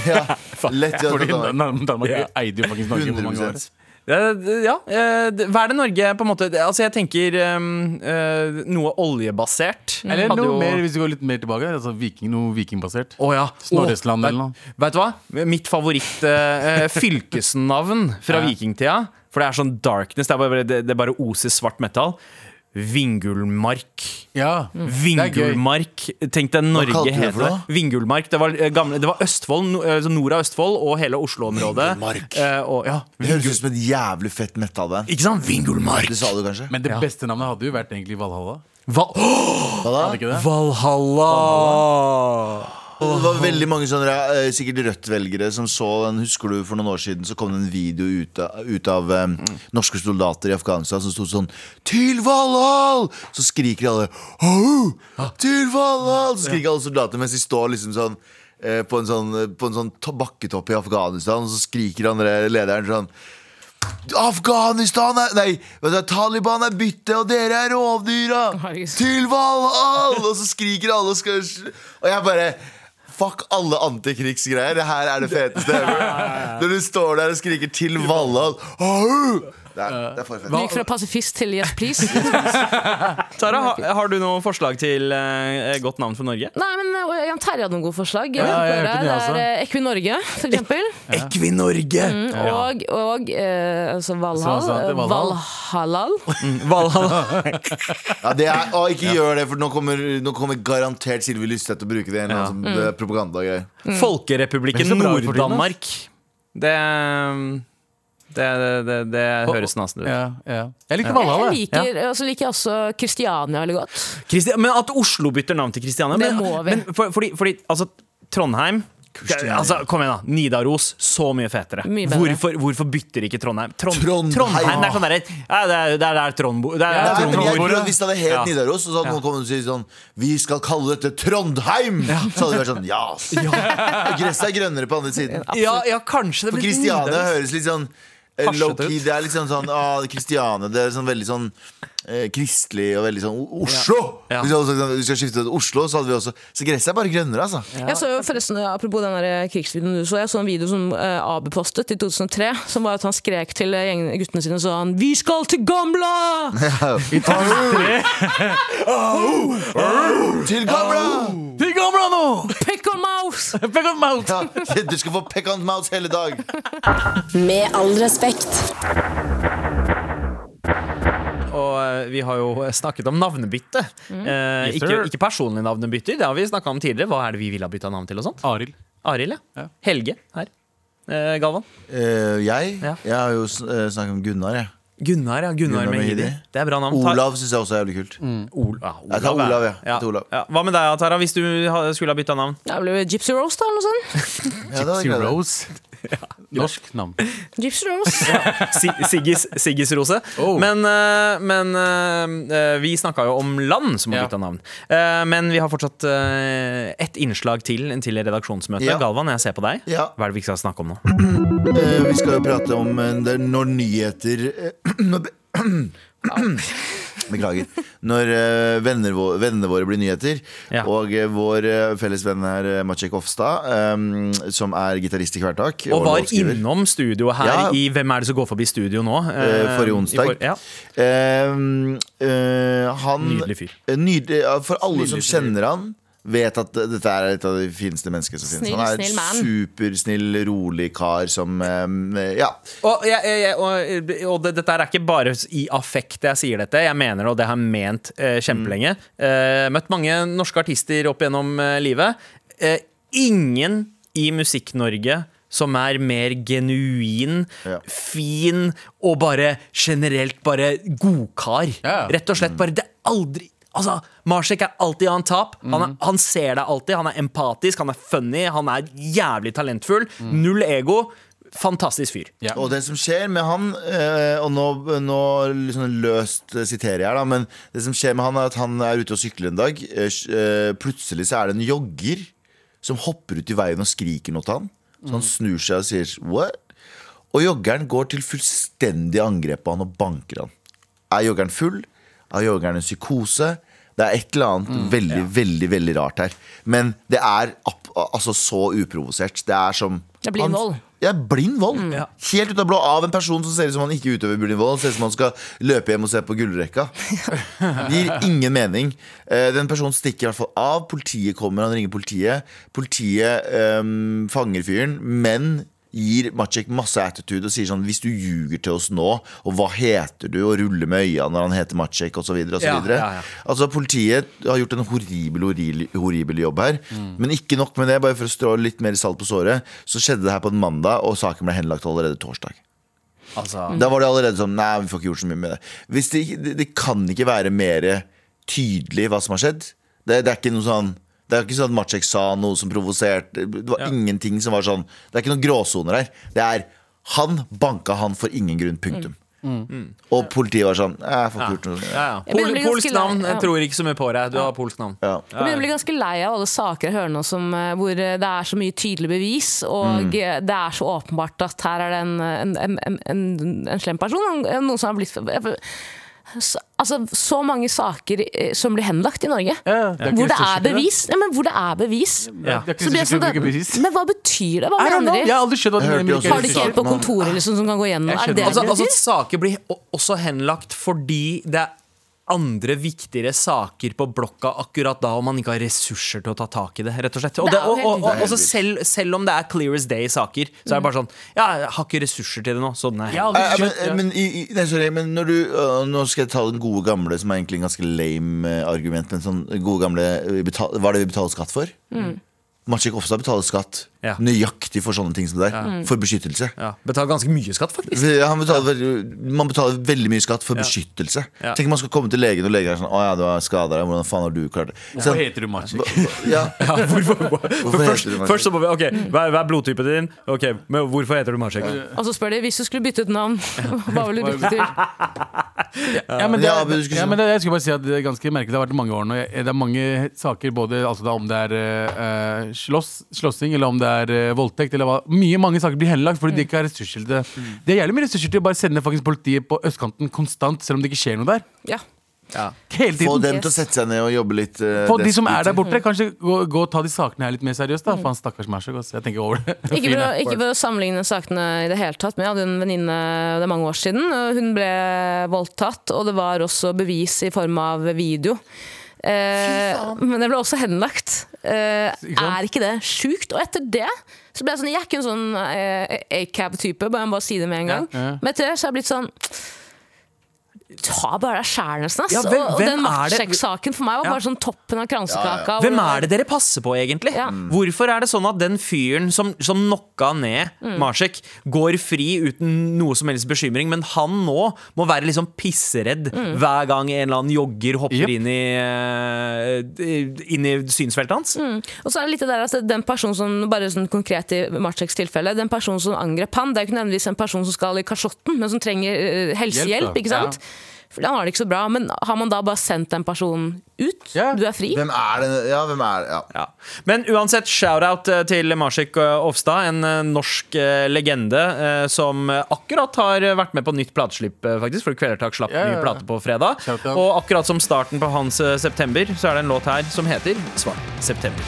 Ja. Lett ja, Fordi totalt. Dan- Danmark Ja. eide jo faktisk Norge hvor mange år. 100 Ja, d- ja. eh, d- Hva er det Norge på en måte Altså, jeg tenker um, eh, noe oljebasert. Eller Mm. Hadde noe jo- Mm. mer, hvis vi går litt mer tilbake. Altså viking, noe vikingbasert. Å ja. Snorresland Å, eller noe. vet- Vet du hva? Mitt favoritt eh, eh, fylkesnavn fra Ja. vikingtida. For det er sånn darkness. Det, er bare, det, det bare oser svart metall. Vingulmark. Ja, mm. det er gøy. Vingulmark. Tenk deg Norge kalte de det heter for det. noe? Vingulmark. Det var, eh, gamle, det var Østfold, no- eh, altså nord av Østfold og hele Oslo-området. Vingulmark. Eh, og, ja. Det høres ut som et jævlig fett metal-band. Ikke sant? Vingulmark! Det sa du kanskje? Men det beste navnet hadde jo vært egentlig Valhalla. Val Hva da? Hadde ikke det? Valhalla! Det var veldig mange sånne eh, sikkert Rødt-velgere som så den. Husker du for noen år siden så kom det en video ut av, ut av eh, norske soldater i Afghanistan som sto sånn Til Valhall! Så skriker alle «Au! Til Valhall! Så skriker alle soldater mens de står liksom sånn eh, på en sånn, på en sånn to- bakketopp i Afghanistan, og så skriker han der lederen sånn Afghanistan er Nei, vet du, Taliban er bytte, og dere er rovdyra! Herregud. Til Valhall! Og så skriker alle og skal Og jeg bare Fuck alle antikrigsgreier. Det her er det feteste ever. Når du står der og skriker 'til Valhall' Au! Det er, det er for fett. Vi gikk fra pasifist til yes please. Tara, ha, har du noe forslag til eh, godt navn for Norge? Nei, men eh, Jan Terje hadde noen gode forslag. Ja, jeg hørte det det også. er eh, Equinorge, for eksempel. Equinorge! Og, og eh, altså Så han Valhall. sa at det var Valhall. Valhallal. Valhalla. Ja, det er, å, ikke gjør det, for nå kommer, nå kommer garantert Sylvi Lystvedt til å bruke det i en eller annen sånn, Mm. eh, propagandagreie. Folkerepublikken Men så bra for tiden, Nord-Danmark. Det det, det, det høres nasen ut. Ja, ja. Jeg likte Jeg Valhalla. jeg. liker, Og så liker jeg også Kristiania veldig godt. Kristi- men at Oslo bytter navn til Kristiania Det men- må vi. Men for, fordi, fordi altså, Trondheim Altså, kom igjen, da. Nidaros, så mye fetere. Mye bedre. hvorfor, hvorfor bytter ikke Trondheim? Trond, Trondheim. Det er sånn derre ja, Det er det er der Trond bor. Det er Nei, der men Trond jeg bor. tror at Hvis det hadde het Ja. Nidaros, så hadde noen kommet og sagt sånn Vi skal kalle dette Trondheim! Så hadde det vært sånn Ja! ass. Og Gresset er grønnere på andre siden. Ja, ja, kanskje det For blir Kristiania Nidaros. høres litt sånn eh, Hasjet Low-key, ut. det er liksom sånn ah, Kristiania, det er sånn veldig sånn eh, kristelig og veldig sånn O- Oslo! Ja. Hvis vi hadde sagt sånn, vi skal skifte til Oslo, så hadde vi også Så gresset er bare grønnere, altså. Jeg så jo forresten, Apropos den der eh, krigsvideoen du så, jeg så en video som eh, Abe postet i 2003. Som var at han skrek til eh, gjengen, guttene sine så han 'Vi skal til Gamla!' Til gamla! Til gamla nå! Pick on mouse! Back of mouth! Ja, du skal få peccant mouse hele dag. Med all respekt. Og eh, vi har jo snakket om navnebytte. Eh, Yes, ikke, sir. ikke personlig navnebytter, det har vi snakka om tidligere. Hva er det vi ville ha bytta navn til og sånt? Arild. Arild, ja. Ja. Helge her. Eh, Galvan. Eh, jeg? Ja. Jeg har jo sn- eh, snakket om Gunnar, jeg. Gunnar, ja. Gunnar, Gunnar Mehidi. Mehidi. Det er bra navn. Ta- Mm. Olav syns jeg også er jævlig kult. Ol ja, Olav, Jeg tar Olav, ja. Jeg tar Olav. Hva med deg, Tara, hvis du ha- skulle ha bytta navn? Da ble det Gypsy Rose, da, eller noe sånt. Ja, det hadde jeg Til greid. Rose. Norsk navn. Gypsy Rose. Si Siggis, Siggis Rose. Oh. Men, eh, men eh, vi snakka jo om land som har Ja. bytta navn. Eh, men vi har fortsatt uh, ett innslag til til redaksjonsmøtet. Ja. Galvan, jeg ser på deg. Ja. Hva er det vi skal snakke om nå? Eh, Vi skal jo prate om eh, det er når nyheter eh, når be- Beklager. Når eh, venner vå- vennene våre blir nyheter. Ja. Og eh, vår eh, felles venn her, eh, Maciek Ofstad, eh, som er gitarist i Kvertak. Og var låtskriver. innom studio her Ja. i Hvem er det som går forbi studio nå? Eh, Eh, forrige i onsdag. for- ja. Eh, eh, han, Nydelig fyr. Eh, nydelig- ja, for alle som Nydelig fyr. kjenner han Vet at eh, dette er et av de fineste menneskene som finnes. Snill, Han er snill man. en supersnill, rolig kar som eh, Ja. Og, jeg, jeg, jeg, og, og det, dette her er ikke bare i affekt jeg sier dette. Jeg mener det, og det har jeg ment eh, kjempelenge. Eh, møtt mange norske artister opp gjennom eh, livet. Eh, ingen i Musikk-Norge som er mer genuin, Ja. fin og bare generelt bare godkar. Ja. Mm. Rett og slett bare Det er aldri Altså, Marsek er alltid on top. Han, Mm. er, han ser deg alltid. Han er empatisk, han er funny, han er jævlig talentfull. Mm. Null ego. Fantastisk fyr. Ja. Og det som skjer med han eh, Og nå, nå liksom løst eh, siterer jeg her da Men det som skjer med han er at han er ute og sykler en dag eh, sj- eh, Plutselig så er det en jogger Som hopper ut i veien og skriker noe til han Så han snur seg og sier What? Og joggeren går til fullstendig angrep på han og banker han Er joggeren full? Er joggeren en psykose? Det er et eller annet veldig, veldig, veldig rart her Men det er app- altså så uprovosert Det er som Det blir han- vold. ja, blind vold. Helt ut av blå av en person som ser ut som han ikke utøver blind vold. Han ser ut som han skal løpe hjem og se på gullrekka. Det gir ingen mening. Eh, Den personen stikker i hvert fall av. Politiet kommer, han ringer politiet. Politiet ehm, fanger fyren, men gir Maciek masse attitude og sier sånn Hvis du ljuger til oss nå, og hva heter du, og ruller med øya når han heter Maciek, osv. Ja, videre ja, ja. Altså, politiet har gjort en horribel, horribel, horribel jobb her. Men ikke nok med det, bare for å strå litt mer salt på såret, så skjedde det her på en mandag, og saken ble henlagt allerede torsdag. Altså, Da var det allerede sånn Nei, vi får ikke gjort så mye med det. Hvis det, ikke- det, det kan ikke være mer tydelig hva som har skjedd. Det, det er ikke noe sånn det er ikke sånn at Maciek sa noe som provoserte. Det var Ja. ingenting som var sånn Det er ikke noen gråsoner her. Det er han banka han for ingen grunn. Punktum. Og politiet var sånn Nei, jeg får ikke gjort noe. Mm. ja, ja. Jeg begynner Pol, å bli ganske polsk navn. lei, ja. Jeg tror ikke så mye på deg. Du har polsk navn. Ja. Jeg begynner å bli ganske lei av alle saker jeg hører nå som, eh, hvor eh, det er så mye tydelig bevis, Mm. og eh, det er så åpenbart at her er det en, en, en, en, en, en slem person. en- Noen som har blitt Så- Altså, så mange saker eh, som blir henlagt i Norge. det er ikke hvor det ressurser er til det. bevis! Ja, men hvor det er bevis. Ja. Det er Så ikke blir sikkert jeg sånn, du bruker bevis. men hva betyr det? Hva I don't know. mener Jeg de? har aldri skjønt hva du Jeg mener. hørte med også- ikke Har de ikke ressurser. en på kontoret liksom, som kan gå gjennom? Jeg Er skjønner. det Altså, det altså betyr? Saker blir o- også henlagt fordi det er andre viktigere saker på blokka akkurat da, og man ikke har ressurser til å ta tak i det. rett og slett. Og, Det det, er jo og, helt Mm. og, og, vilt. og så selv, selv om det er clear as day-saker, så er det bare sånn Ja, jeg har ikke ressurser til det nå, så nei. Jeg har aldri Eh, skjønt- Men, men, i, i, nei, sorry, men når du, øh, nå skal jeg ta den gode gamle, som er egentlig en ganske lame eh, argument. Men sånn gode gamle vi betal, Hva er det vi betaler skatt for? Mm. Maciek Ofstad betaler skatt Ja. nøyaktig for sånne ting som det der. For beskyttelse. Ja, Betaler ganske mye skatt, faktisk. Han betaler, veldig- Man betaler veldig mye skatt for beskyttelse. Ja. Tenk om man skal komme til legen, og legen er sånn Å ja, du har skada deg. Hvordan faen har du klart det? Så- Hva heter du, Maciek? ja. Ja, hvorfor, for heter først, du Maciek? først så må vi, ok, hva er, hva er blodtypen din? Ok, men Hvorfor heter du Marsek? Og så spør de hvis du skulle bytte ut navn, hva ville du bytte til? Ja, men det, Ja, men du skulle ja, si- men det, jeg skulle bare si at det er ganske merkelig. Det har vært mange år nå. Jeg- Det er mange saker, både altså da, om det er eh, slåss, slåssing, eller om det er eh, voldtekt, eller hva. Mye, mange saker blir henlagt fordi de ikke har ressurser til det. Det er jævlig mye ressurser til å bare sende faktisk politiet på østkanten konstant, selv om det ikke skjer noe der. Ja. Hele tiden. Få dem til å sette seg ned og jobbe litt. eh, Få de som desk- er der borte, kanskje gå, gå og ta de sakene her litt mer seriøst, da. Faen, stakkars Marsek, ass. Jeg tenker over det. Ikke for, å, Fine. ikke for å sammenligne sakene i det hele tatt, men jeg hadde en venninne det er mange år siden. og Hun ble voldtatt, og det var også bevis i form av video. Eh, men det ble også henlagt. Eh, Ikke sant? er ikke det sjukt? Og etter det så ble jeg sånn Jeg er ikke en sånn eh, acab-type, bare jeg må bare si det med en gang. Ja, ja. Men etter det så har jeg blitt sånn Ta bare deg sjæl, nesten. ass. Ja, hvem- og, og hvem den er det- Matsjekk-saken for meg var Ja. bare sånn toppen av kransekaka. Hvem er det dere passer på, egentlig? Ja. Hvorfor er det sånn at den fyren som, som knocka ned Marsek, går fri uten noe som helst bekymring, men han nå må være liksom pisseredd hver gang en eller annen jogger hopper Jep. inn, i, eh, inn i synsfeltet hans? Og så er det litt det der at den personen som, bare sånn konkret i Marceks tilfelle, den personen som angrep han, det er ikke nødvendigvis en person som skal i kasjotten, men som trenger eh, Hjelp, helsehjelp, da. ikke sant? For han har det ikke så bra, men har man da bare sendt den personen ut? Ja. Du er fri? Hvem er det? Ja, hvem er det? Ja. Ja. Men uansett, shout-out eh, til Marsik eh, Ofstad, en eh, norsk eh, legende eh, som eh, akkurat har eh, vært med på nytt plateslipp, eh, faktisk, for Kvelertak slapp Ja, ja, ny ja. plate på fredag. Shout out. Og akkurat som starten på hans eh, September, så er det en låt her som heter Svart september.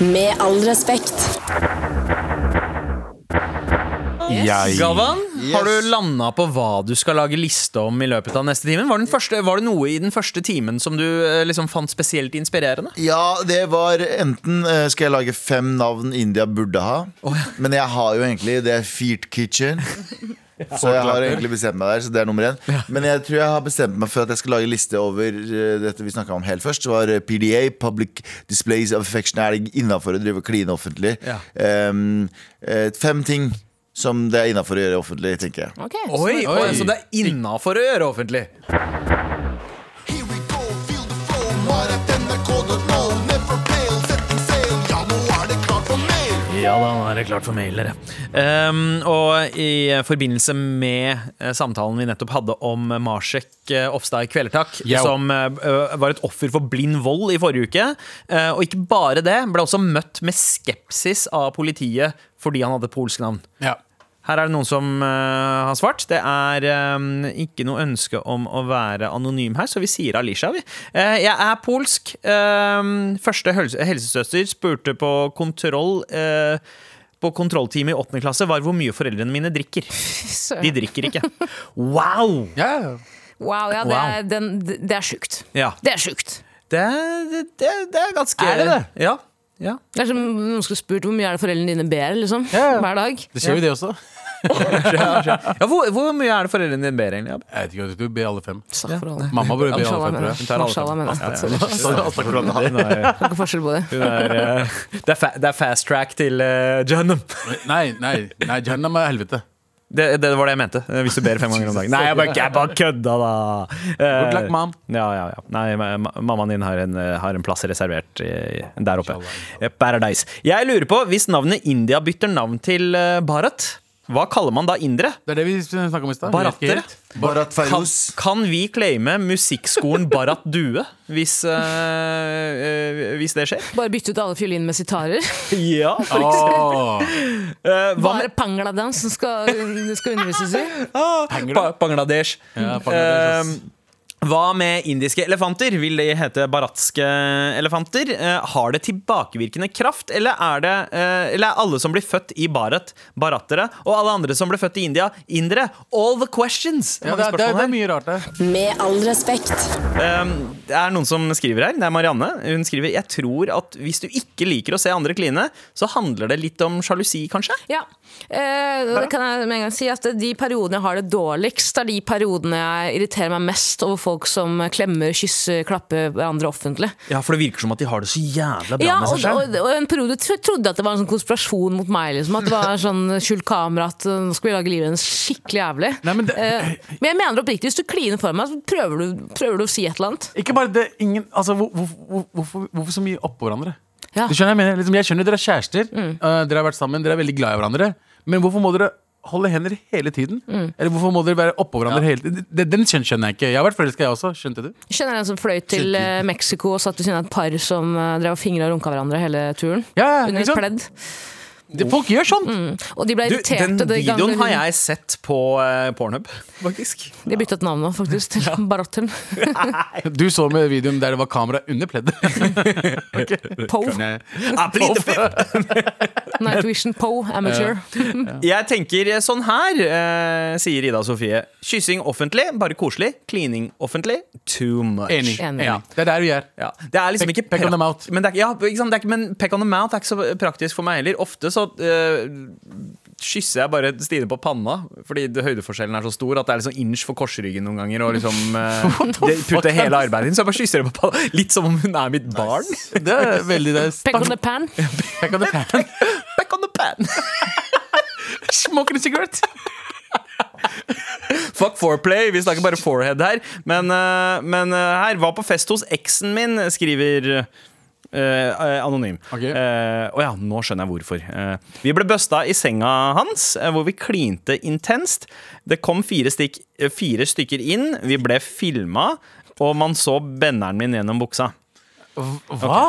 Med all respekt. Galvan, har Yes. du landa på hva du skal lage liste om i løpet av neste time? Var, den første, var det noe i den første timen som du eh, liksom fant spesielt inspirerende? Ja, det var enten eh, skal jeg lage fem navn India burde ha. Men jeg har jo egentlig det er Feet Kitchen. Så jeg har egentlig bestemt meg der, så det er nummer én. Men jeg tror jeg har bestemt meg for at jeg skal lage liste over eh, dette vi snakka om helt først. Det var eh, PDA, Public Displays of Affection. Er det innafor å drive og kline offentlig? Ja. Ehm, eh, fem ting som det er innafor å gjøre offentlig, tenker jeg. Ok, så- Oi, oi. Så det er innafor å gjøre offentlig? Here we go, feel the flow. Maratnrk.no, never fail, setting sail. Ja, nå er det klart for mail. Ja da, nå er det klart for mailere. Um, og i eh, forbindelse med eh, samtalen vi nettopp hadde om eh, Marsek eh, Ofstad i Kvelertak, Yo. som eh, ø, var et offer for blind vold i forrige uke, eh, og ikke bare det, ble også møtt med skepsis av politiet fordi han hadde polsk navn. Ja. Her er det noen som eh, har svart. Det er eh, ikke noe ønske om å være anonym her, så vi sier Alisha, vi. Eh, jeg er polsk. Eh, første helse helsesøster spurte på kontroll. eh, på kontrollteamet i åttende klasse var hvor mye foreldrene mine drikker. De Søren. drikker ikke. Wow! Ja, Wow, ja, det er, den, det er sjukt. Ja. Det er sjukt. Det, er- det, det det er ganske Er det det? Ja. ja. Det er som om noen skulle spurt hvor mye er det foreldrene dine ber liksom, Ja, ja. hver dag. det skjer jo det også. ja hvor, hvor mye er det foreldrene dine ber, egentlig? Abid? Jeg vet ikke, jeg tror du ber alle fem. Takk for alle. Mamma bør be alle Mashallah, fem, mener tror jeg. jeg. alle Mashallah, fem. mener jeg. Sorry. Hun er, Det er ikke forskjell på det. hun er, eh, det, er fa, det er fast track til uh, Jahannam. Nei, nei, nei, Jahannam er helvete. Det, det var det jeg mente, eh, hvis du ber fem ganger om dagen. Nei, jeg bare, jeg bare kødda, da! Eh, Good luck, mom. Ja, ja, ja. Nei, ma- ma- mammaen din har en, eh, har en plass reservert eh, der oppe. Eh, Paradise. Jeg lurer på, hvis navnet India bytter navn til eh, Bharat, hva kaller man da indere? Det er det vi snakka om i stad. Vi vet ikke Baratere? helt. Barat Kan, Feiruz. kan vi claime musikkskolen Barat Due hvis, eh, eh, hvis det skjer? Bare bytte ut alle fiolinene med sitarer. Ja. Åh, hva Bare med pangladans som skal, det skal undervises i. Pa- Bangladesh? ja, Bangladesh, Eh, ass. hva med indiske elefanter? Vil de hete baratske elefanter? Eh, har det tilbakevirkende kraft, eller er, det, eh, eller er alle som blir født i Bharat, baratere? Og alle andre som ble født i India, indere? All the questions! Mange ja, det, er- det, er- spørsmål det her. er mye rart, det. Med all respekt. Um, det er noen som skriver her. Det er Marianne. Hun skriver Jeg tror at hvis du ikke liker å se andre kline, så handler det litt om sjalusi, kanskje? Ja. Eh, og det kan jeg med en gang si at De periodene jeg har det dårligst, er de periodene jeg irriterer meg mest over folk som klemmer, kysser, klapper hverandre offentlig. Ja, for det virker som at de har det så jævla bra Ja, med og, seg selv. og, og en periode tro- trodde jeg at det var en sånn konspirasjon mot meg. Liksom, at det var en sånn skjult kamera, at eh, nå skal vi lage livet hennes skikkelig jævlig. Nei, men det- Eh, men jeg mener oppriktig, hvis du kliner for meg, så prøver du, prøver du å si et eller annet. Ikke bare det, ingen Altså, hvor, hvor, hvor, hvorfor, hvorfor så mye oppå hverandre? Ja. Du skjønner, hva jeg, mener, liksom, jeg skjønner dere er kjærester, eh, dere har vært sammen, dere er veldig glad i hverandre. Men hvorfor må dere holde hender hele tiden? Eller hvorfor må dere være oppå hverandre hele tiden? Den, den skjøn- skjønner jeg ikke. Jeg har vært forelska, jeg også. Skjønte du? Kjenner jeg en som fløy til eh, Mexico og satt ved siden av et par som eh, drev og fingra og runka hverandre hele turen. Ja, under et ikke sant? pledd. Det- Folk gjør sånt! Og de ble Du, irriterte. den de gangene videoen har hun- jeg sett på eh, Pornhub, faktisk. De har byttet navn nå, faktisk, til Baratem. Du så med videoen der det var kamera under pleddet. Po. Nei. Ah, please, the fifth. Night Vision Po Amateur. Jeg tenker sånn her, eh, sier Ida Sofie. Kyssing offentlig, bare koselig. Klining offentlig, too much. Enig. Enig. Ja, det er der vi er. Ja. Det er liksom Peck- ikke peck on the pra- mouth. Men, det er, ikke- ja, ikke sant? Det er ikke, men peck on the mouth er ikke så praktisk for meg heller. Ofte så eh, kysser jeg bare Stine på panna, fordi det- høydeforskjellen er så stor at det er liksom inch for korsryggen noen ganger. Og liksom eh, det putter hele arbeidet inn, så jeg bare kysser henne på panna. Litt som om hun er mitt barn. Det er veldig det er Peck on stank- the pan. peck on the pan. Back on the pan! Smoking a cigarette. Fuck foreplay, vi snakker bare forehead her. Men, eh, men eh, her var på fest hos eksen min, skriver eh, eh, anonym. Ok. Eh, Å ja, nå skjønner jeg hvorfor. Eh, vi ble busta i senga hans, eh, hvor vi klinte intenst. Det kom fire, stikk, eh, fire stykker inn, vi ble filma, og man så benneren min gjennom buksa. Hva?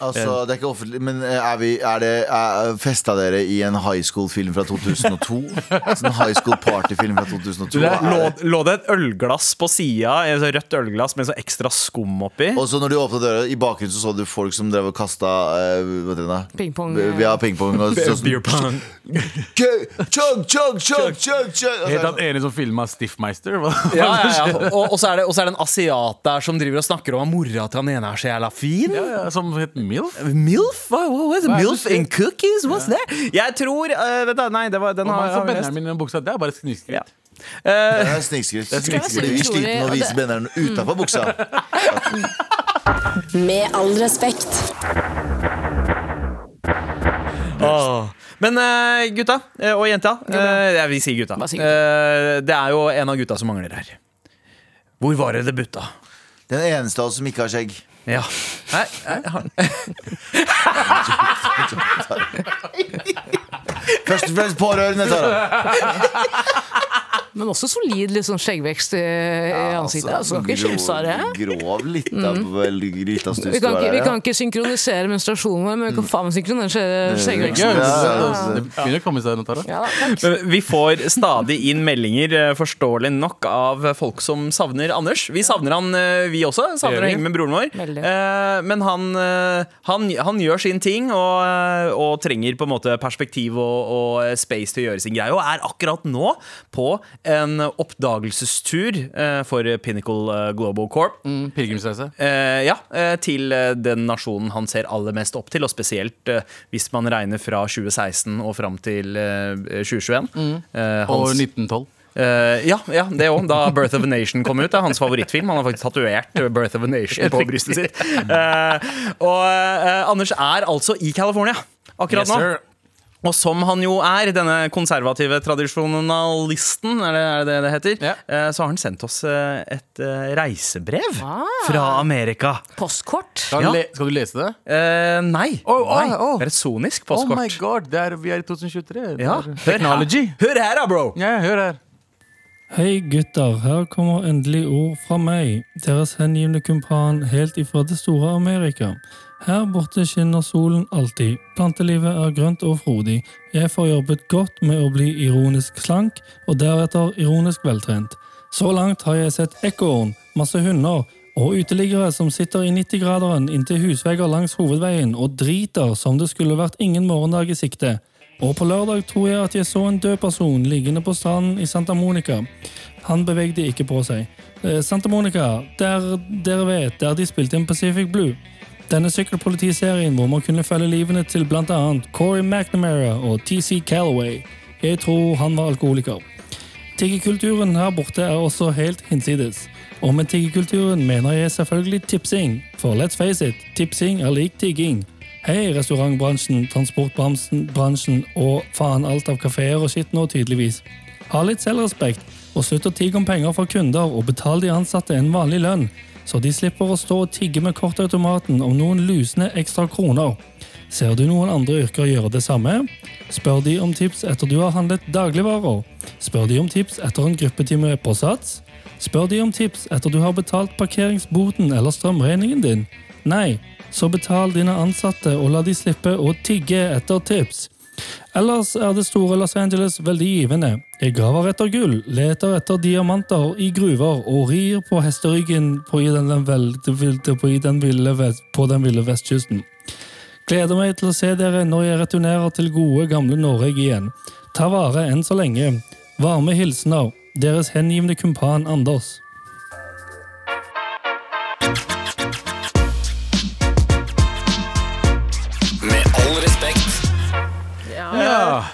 Altså, det er ikke offentlig, men eh, er vi er det, er, Festa dere i en high school-film fra 2002? Sånn high school party-film fra 2002? Lå, Er det- lå det et ølglass på sida, et sånt rødt ølglass med så ekstra skum oppi? Og så når du åpnet døra, i bakgrunnen så så du folk som drev og kasta eh, Hva heter det da? Pingpong. Vi- Vi har pingpong og så, Beer pong. Chug, chug, chug, chug, chug Het han ene som filma Stiffmeister? Hva? Ja, ja, ja. Og, og, så er det, og så er det en asiat der som driver og snakker om at mora til han ene er så jævla fin. Ja, ja, Som het Milf? Milf? Hva, hva, hva er det? Hva er det Milf du sier? and cookies? What's that? Jeg tror eh, Vet du, Nei, det var, den Hva har er det som jeg har Benjamin i den buksa? Det er bare snikskritt. Ja. Det er snikskritt. snikskryt. Fordi vi sliter med å vise benderen utafor buksa. Med all respekt. lest. Åh. Men eh, gutta eh, og jenta eh, Jeg vil si gutta. Bare si Eh, det er jo en av gutta som mangler her. Hvor var det det butta? Den eneste av oss som ikke har skjegg. Ja. Nei, nei, han- Først og fremst pårørende, Tara. Men også solid litt sånn skjeggvekst i, i ansiktet. Altså, kan ikke kimse av det. Grov, grov litt av litt av Vi stus kan, du ikke, er her, vi kan ikke synkronisere menstruasjonen vår, men vi kan faen meg synkronisere skjeggveksten. Ja, Ja, det begynner å komme seg noe der. Ja, da, takk. Men Vi får stadig inn meldinger, eh, forståelig nok, av folk som savner Anders. Vi savner han, eh, vi også. Savner å henge med broren vår. Veldig. Eh, Men han, eh, han, han gjør sin ting og, eh, og trenger på en måte perspektiv og, og eh, space til å gjøre sin greie. Og er akkurat nå på en oppdagelsestur eh, for Pinnacle eh, Global Corp. Mm, Pilegrimsreise. Eh, ja, eh, til eh, den nasjonen han ser aller mest opp til, og spesielt eh, hvis man regner fra 2016 og fram til eh, 2021. Eh, Mm. Og hans, 1912. eh, ja, ja, det òg. Da 'Birth of a Nation' kom ut, det er hans favorittfilm. Han har faktisk tatuert eh, 'Birth of a Nation' på brystet sitt. Eh, og eh, Anders er altså i California akkurat nå. Og som han jo er, denne konservative tradisjonalisten, er det er det, det det heter, Ja. eh, så har han sendt oss eh, et eh, reisebrev Ah. fra Amerika. Postkort. Skal, Ja. le skal du lese det? Eh, nei. Å, å, nei. å. Det er et sonisk Oh my postkort. god, det er, vi er i 2023. Det ja. er- Hør her. Technology. Hør her, da, bro! Ja, hør her. Hei gutter, her kommer endelig ord fra meg, deres hengivne kumpan helt ifra det store Amerika. Her borte skinner solen alltid, plantelivet er grønt og frodig. Jeg får jobbet godt med å bli ironisk slank, og deretter ironisk veltrent. Så langt har jeg sett ekorn, masse hunder, og uteliggere som sitter i 90-graderen inntil husvegger langs hovedveien og driter som det skulle vært ingen morgendag i sikte. Og på lørdag tror jeg at jeg så en død person liggende på stranden i Santa Monica. Han bevegde ikke på seg. Eh, Santa Monica, der dere vet, der de spilte inn Pacific Blue. Denne sykkelpolitiserien hvor man kunne følge livene til blant annet Corey McNamara og TC Callaway. Jeg tror han var alkoholiker. Tiggekulturen her borte er også helt hinsides. Og med tiggekulturen mener jeg selvfølgelig tipsing, for let's face it, tipsing er lik tigging. Hei, restaurantbransjen, transportbransjen bransjen og faen alt av kafeer og skitt nå, tydeligvis. Ha litt selvrespekt, og slutt å tigge om penger fra kunder, og betal de ansatte en vanlig lønn, så de slipper å stå og tigge med kortautomaten om noen lusende ekstra kroner. Ser du noen andre yrker gjøre det samme? Spør de om tips etter du har handlet dagligvarer. Spør de om tips etter en gruppetime på Sats. Spør de om tips etter du har betalt parkeringsboten eller strømregningen din. Nei, så betal dine ansatte og la de slippe å tigge etter tips. Ellers er det store Los Angeles veldig givende. Jeg graver etter gull, leter etter diamanter i gruver og rir på hesteryggen på i den, den, vel, på, i den ville, vest- på den ville vestkysten. Gleder meg til å se dere når jeg returnerer til gode, gamle Norge igjen. Ta vare enn så lenge. Varme hilsener. Deres hengivne kumpan Anders. Det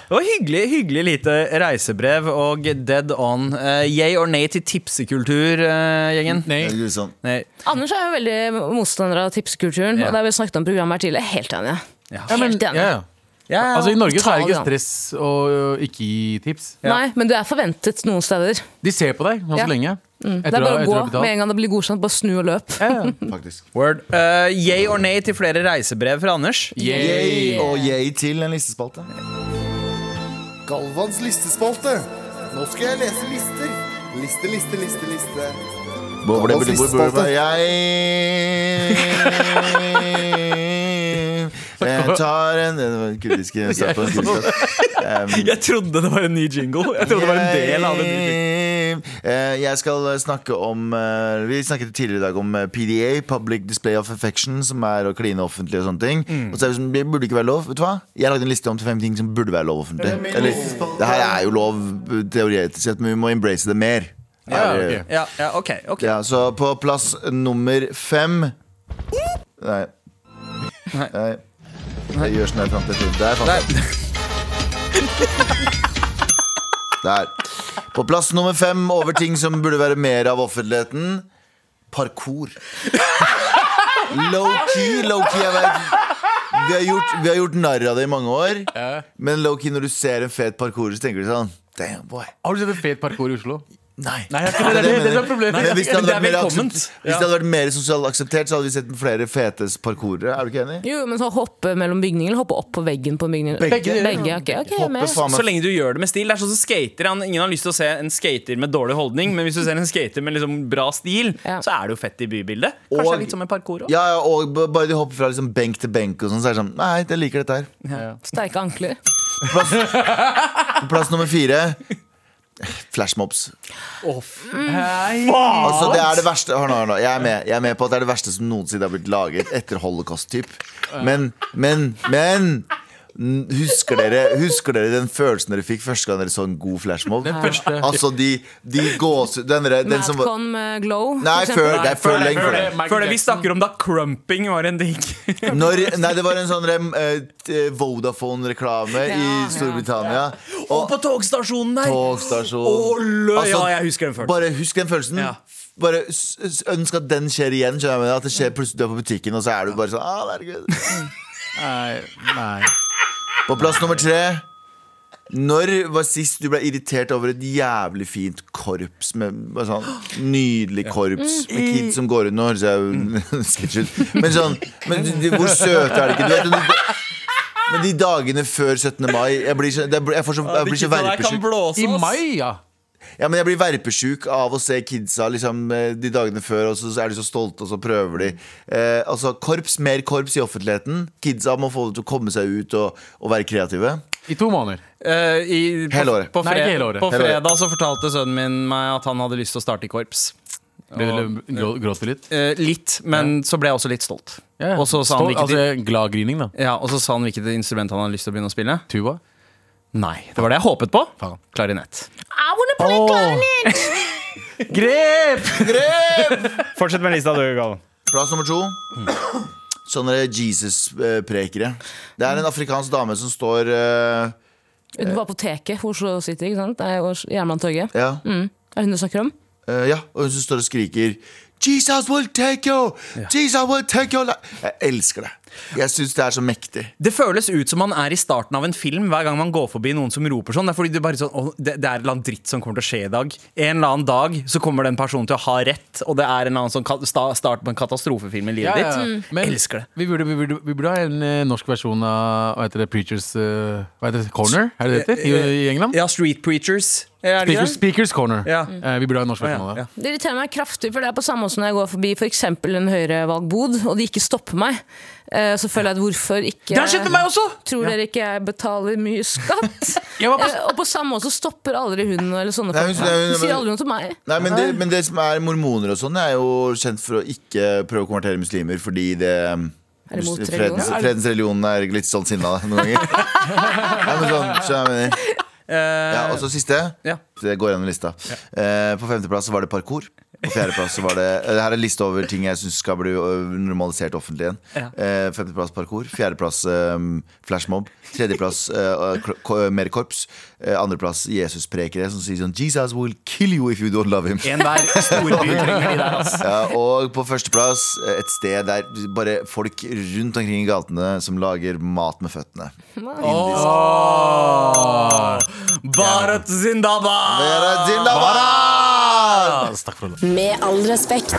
var hyggelig, hyggelig lite reisebrev og dead on. Uh, yay or nay til tipsekultur, eh, gjengen? Det er litt sånn. Nei. Anders er jo veldig motstander av tipskulturen, Ja. og det har vi snakket om i programmet her tidligere. Helt enig. Helt enig. Ja, ja. Ja, ja. Altså, I Norge så er det Total, ja. ikke stress å ø, ikke gi tips. Nei, men du er forventet noen steder. De ser på deg ganske Ja. Mm. lenge. Det Etter er å ha bare å etter gå å ha med betalt. en gang det blir godkjent. Bare snu og løp. Ja, ja. faktisk. Word. Eh, yay or nay til flere reisebrev fra Anders? Yay og yay til en listespalte. Galvans listespalte. Nå skal jeg lese lister. Liste, liste, liste, liste. Galvans listespalte. Jeg Jeg tar en Det var en kurdisk jeg sa på en kurdisk um, Jeg trodde det var en ny jingle. Jeg trodde det var en del av en ny jingle. Jeg- Eh, Jeg skal snakke om eh, Vi snakket tidligere i dag om eh, PDA, Public Display of Affection, som er å kline offentlig og sånne ting. Mm. Og så er det sånn, det burde ikke være lov. Vet du hva? Jeg lagde en liste om til fem ting som burde være lov offentlig. Eller, det her er jo lov eh, teoretisk sett, men vi må embrace det mer. Ja, Er, ok. eh, Ja, ja, ok, ok ja, så på plass nummer fem Nei. Nei. Jeg gjør sånn her fram til Der fant jeg den. Der. På plass nummer fem over ting som burde være mer av offentligheten. Parkour. Low-key, low-key. Jeg vet vi har, gjort, vi har gjort narr av det i mange år. Men low-key, når du ser en fet parkourer, så tenker du sånn Damn, boy. Har du sett en fet parkour i Oslo? Nei. Nei, jeg kunne- det er det- det er problemet. Men hvis det hadde Det er vært, mer, velkomment. aksept, hvis det hadde vært mer sosialt akseptert, så hadde vi sett flere fete parkourer. Er du ikke enig? Jo, men så hoppe mellom bygninger eller hoppe opp på veggen på bygningen? Begge. Begge, ok, ok, jeg er Hoppe med. faen Så meg lenge du gjør det med stil. Det er sånn som skater han- Ingen har lyst til å se en skater med dårlig holdning, men hvis du ser en skater med liksom bra stil, Ja. så er det jo fett i bybildet. Kanskje det Og- er litt som en parkour òg. ja, ja, og b- bare de hopper fra liksom benk til benk, og sånn, så er det sånn Nei, jeg liker dette her. Sterke ankler. Plass nummer fire. Flashmobs. Altså, det er det verste hør nå, hør nå. Jeg, er med. jeg er med på at det er det verste som noensinne har blitt laget etter holocaust-typ. Men, men, men n- Husker dere, husker dere den følelsen dere fikk første gang dere så en god flashmob? Altså de, de gåse... Den, der- den som var Madcon med glow. for Nei, eksempel. før, det er før lenge før det. Før det vi snakker om da crumping var en digg. Når, nei, det var en sånn rem- eh, t- Vodafone-reklame i Ja, ja. Storbritannia. Og på togstasjonen der! Togstasjon. Å, lø- Altså, ja, jeg husker den følelsen. Bare husk den følelsen. Ja. Bare s- s- ønsk at den skjer igjen. Skjønner jeg med At det skjer plutselig du er på butikken, og så er du bare sånn ah, herregud. Nei, nei. På plass nummer tre. Når var sist du ble irritert over et jævlig fint korps? Med, bare sånn, nydelig korps Mm. med kids som går rundt og høres Mm. jo sketsj ut. Men sånn men de, de, Hvor søte er de ikke? Du vet, de, men de dagene før 17. mai Jeg blir så, jeg blir- jeg får så, jeg blir så verpesjuk. I mai, ja. Ja, men jeg blir verpesjuk av å se kidsa liksom, eh, de dagene før, og så er de så stolte, og så prøver de. Eh, altså, korps, mer korps i offentligheten. Kidsa må få det til å komme seg ut og, og være kreative. I to måneder. Eh, i, på, Hele året. På, Nei, fred, ikke hele året. på Hele året. fredag så fortalte sønnen min meg at han hadde lyst til å starte i korps. Ble du grå- Gråt du litt? Eh, litt, men så ble jeg også litt stolt. Og så sa han Stolt, hvilket, altså, glad grining, da. ja, og så sa han hvilket instrument han hadde lyst til å begynne å spille. Tuba. Nei, det var det jeg håpet på. Faen. Klarinett. I wanna play clarinet! Grep! Fortsett med lista, du, Galvan. Plass nummer to. Sånne Jesus-prekere. Det er en afrikansk dame som står eh, Utenfor apoteket, Oslo City, ikke sant? Det er jo Jernbanetorget. ja, Mm. Er det hun du snakker om? eh, ja, og hun som står og skriker Jesus will take you! Jesus will take you! Jeg elsker det. Jeg syns det er så mektig. Det føles ut som man er i starten av en film hver gang man går forbi noen som roper sånn. Det er fordi du bare sånn, «Åh, det, det er en eller annen dritt som kommer til å skje i dag. En eller annen dag så kommer den personen til å ha rett, og det er en eller annen sånn ka- sta- start på en katastrofefilm i livet ditt. mm. Men Elsker det. Vi burde, vi, burde, vi burde ha en eh, norsk versjon av hva heter det, Preachers eh, hva heter det, Corner? Er det det heter? Eh, I, i England? Ja, Street Preachers. Er det ikke Speakers, det? speakers Corner. Ja. Eh, vi burde ha en norsk Å, ja, versjon av det. ja. Det irriterer meg kraftig, for det er på samme måte som når jeg går forbi for eksempel en høyrevalgbod, og de ikke stopper meg. Eh, Så føler jeg at hvorfor ikke Det har skjedd med meg også! Tror dere ikke jeg betaler mye skatt? Jeg var på- Eh, Og på samme måte så stopper aldri hun eller sånne Nei, hun- folk. meg. hun- Hun sier aldri noe til meg. Nei, men det, men det som er mormoner og sånn, er jo kjent for å ikke prøve å konvertere muslimer fordi det Er det mot fredens, religion? fredens religion er litt sånn sinna noen ganger. Nei, men sånn, skjønner jeg hva jeg mener. Ja, og så siste. Ja. Det går gjennom lista. Eh, på femteplass så var det parkour. På fjerdeplass så var det eh, Her er en liste over ting jeg syns skal bli ø, normalisert offentlig igjen. Eh, femteplass parkour. Fjerdeplass eh, flashmob. Tredjeplass eh, kor- ko- mer korps. Eh, andreplass Jesusprekere som sier sånn Jesus will kill you if you don't love him. En hver storby trenger de der, altså. Ja, og på førsteplass eh, et sted der bare folk rundt omkring i gatene som lager mat med føttene. Bharat Zindaba! Zindabad! Med all respekt.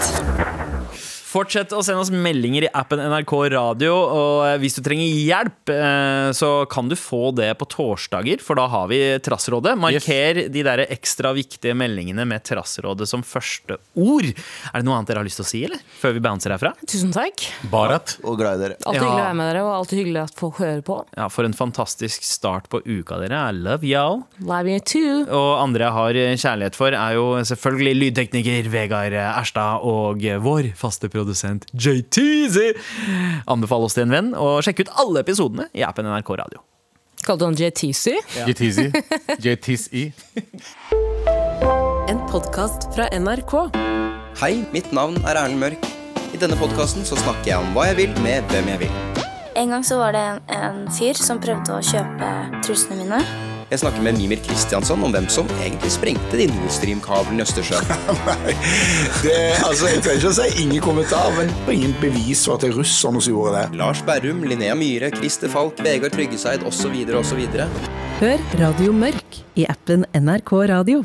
Fortsett å sende oss meldinger i appen NRK Radio. Og eh, hvis du trenger hjelp, eh, så kan du få det på torsdager, for da har vi Trassrådet. Marker de der ekstra viktige meldingene med Trassrådet som første ord. Er det noe annet dere har lyst til å si, eller? Før vi bouncer herfra? Tusen takk. Barat. Og glad i dere. Alltid Ja. hyggelig å være med dere, og alltid hyggelig at folk hører på. Ja, For en fantastisk start på uka, dere. I love y'all. Love you too. Og andre jeg har kjærlighet for, er jo selvfølgelig lydtekniker Vegard Erstad og vår faste produsent JTZ. Anbefal oss til en venn, og sjekk ut alle episodene i appen NRK Radio. Kalte han JTC? JTZ. JTZ. En podkast fra NRK. Hei, mitt navn er Erlend Mørk. I denne podkasten så snakker jeg om hva jeg vil, med hvem jeg vil. En gang så var det en, en fyr som prøvde å kjøpe trusene mine. Jeg snakker med Mimir Kristiansson om hvem som egentlig sprengte de Nord Stream-kablene i Østersjøen. jeg trenger ikke å si ingen kommentar, men ingen bevis for at det er russerne som gjorde det. Lars Berrum, Linnea Myhre, Christer Falk, Vegard Tryggeseid osv. osv. Hør Radio Mørk i appen NRK Radio.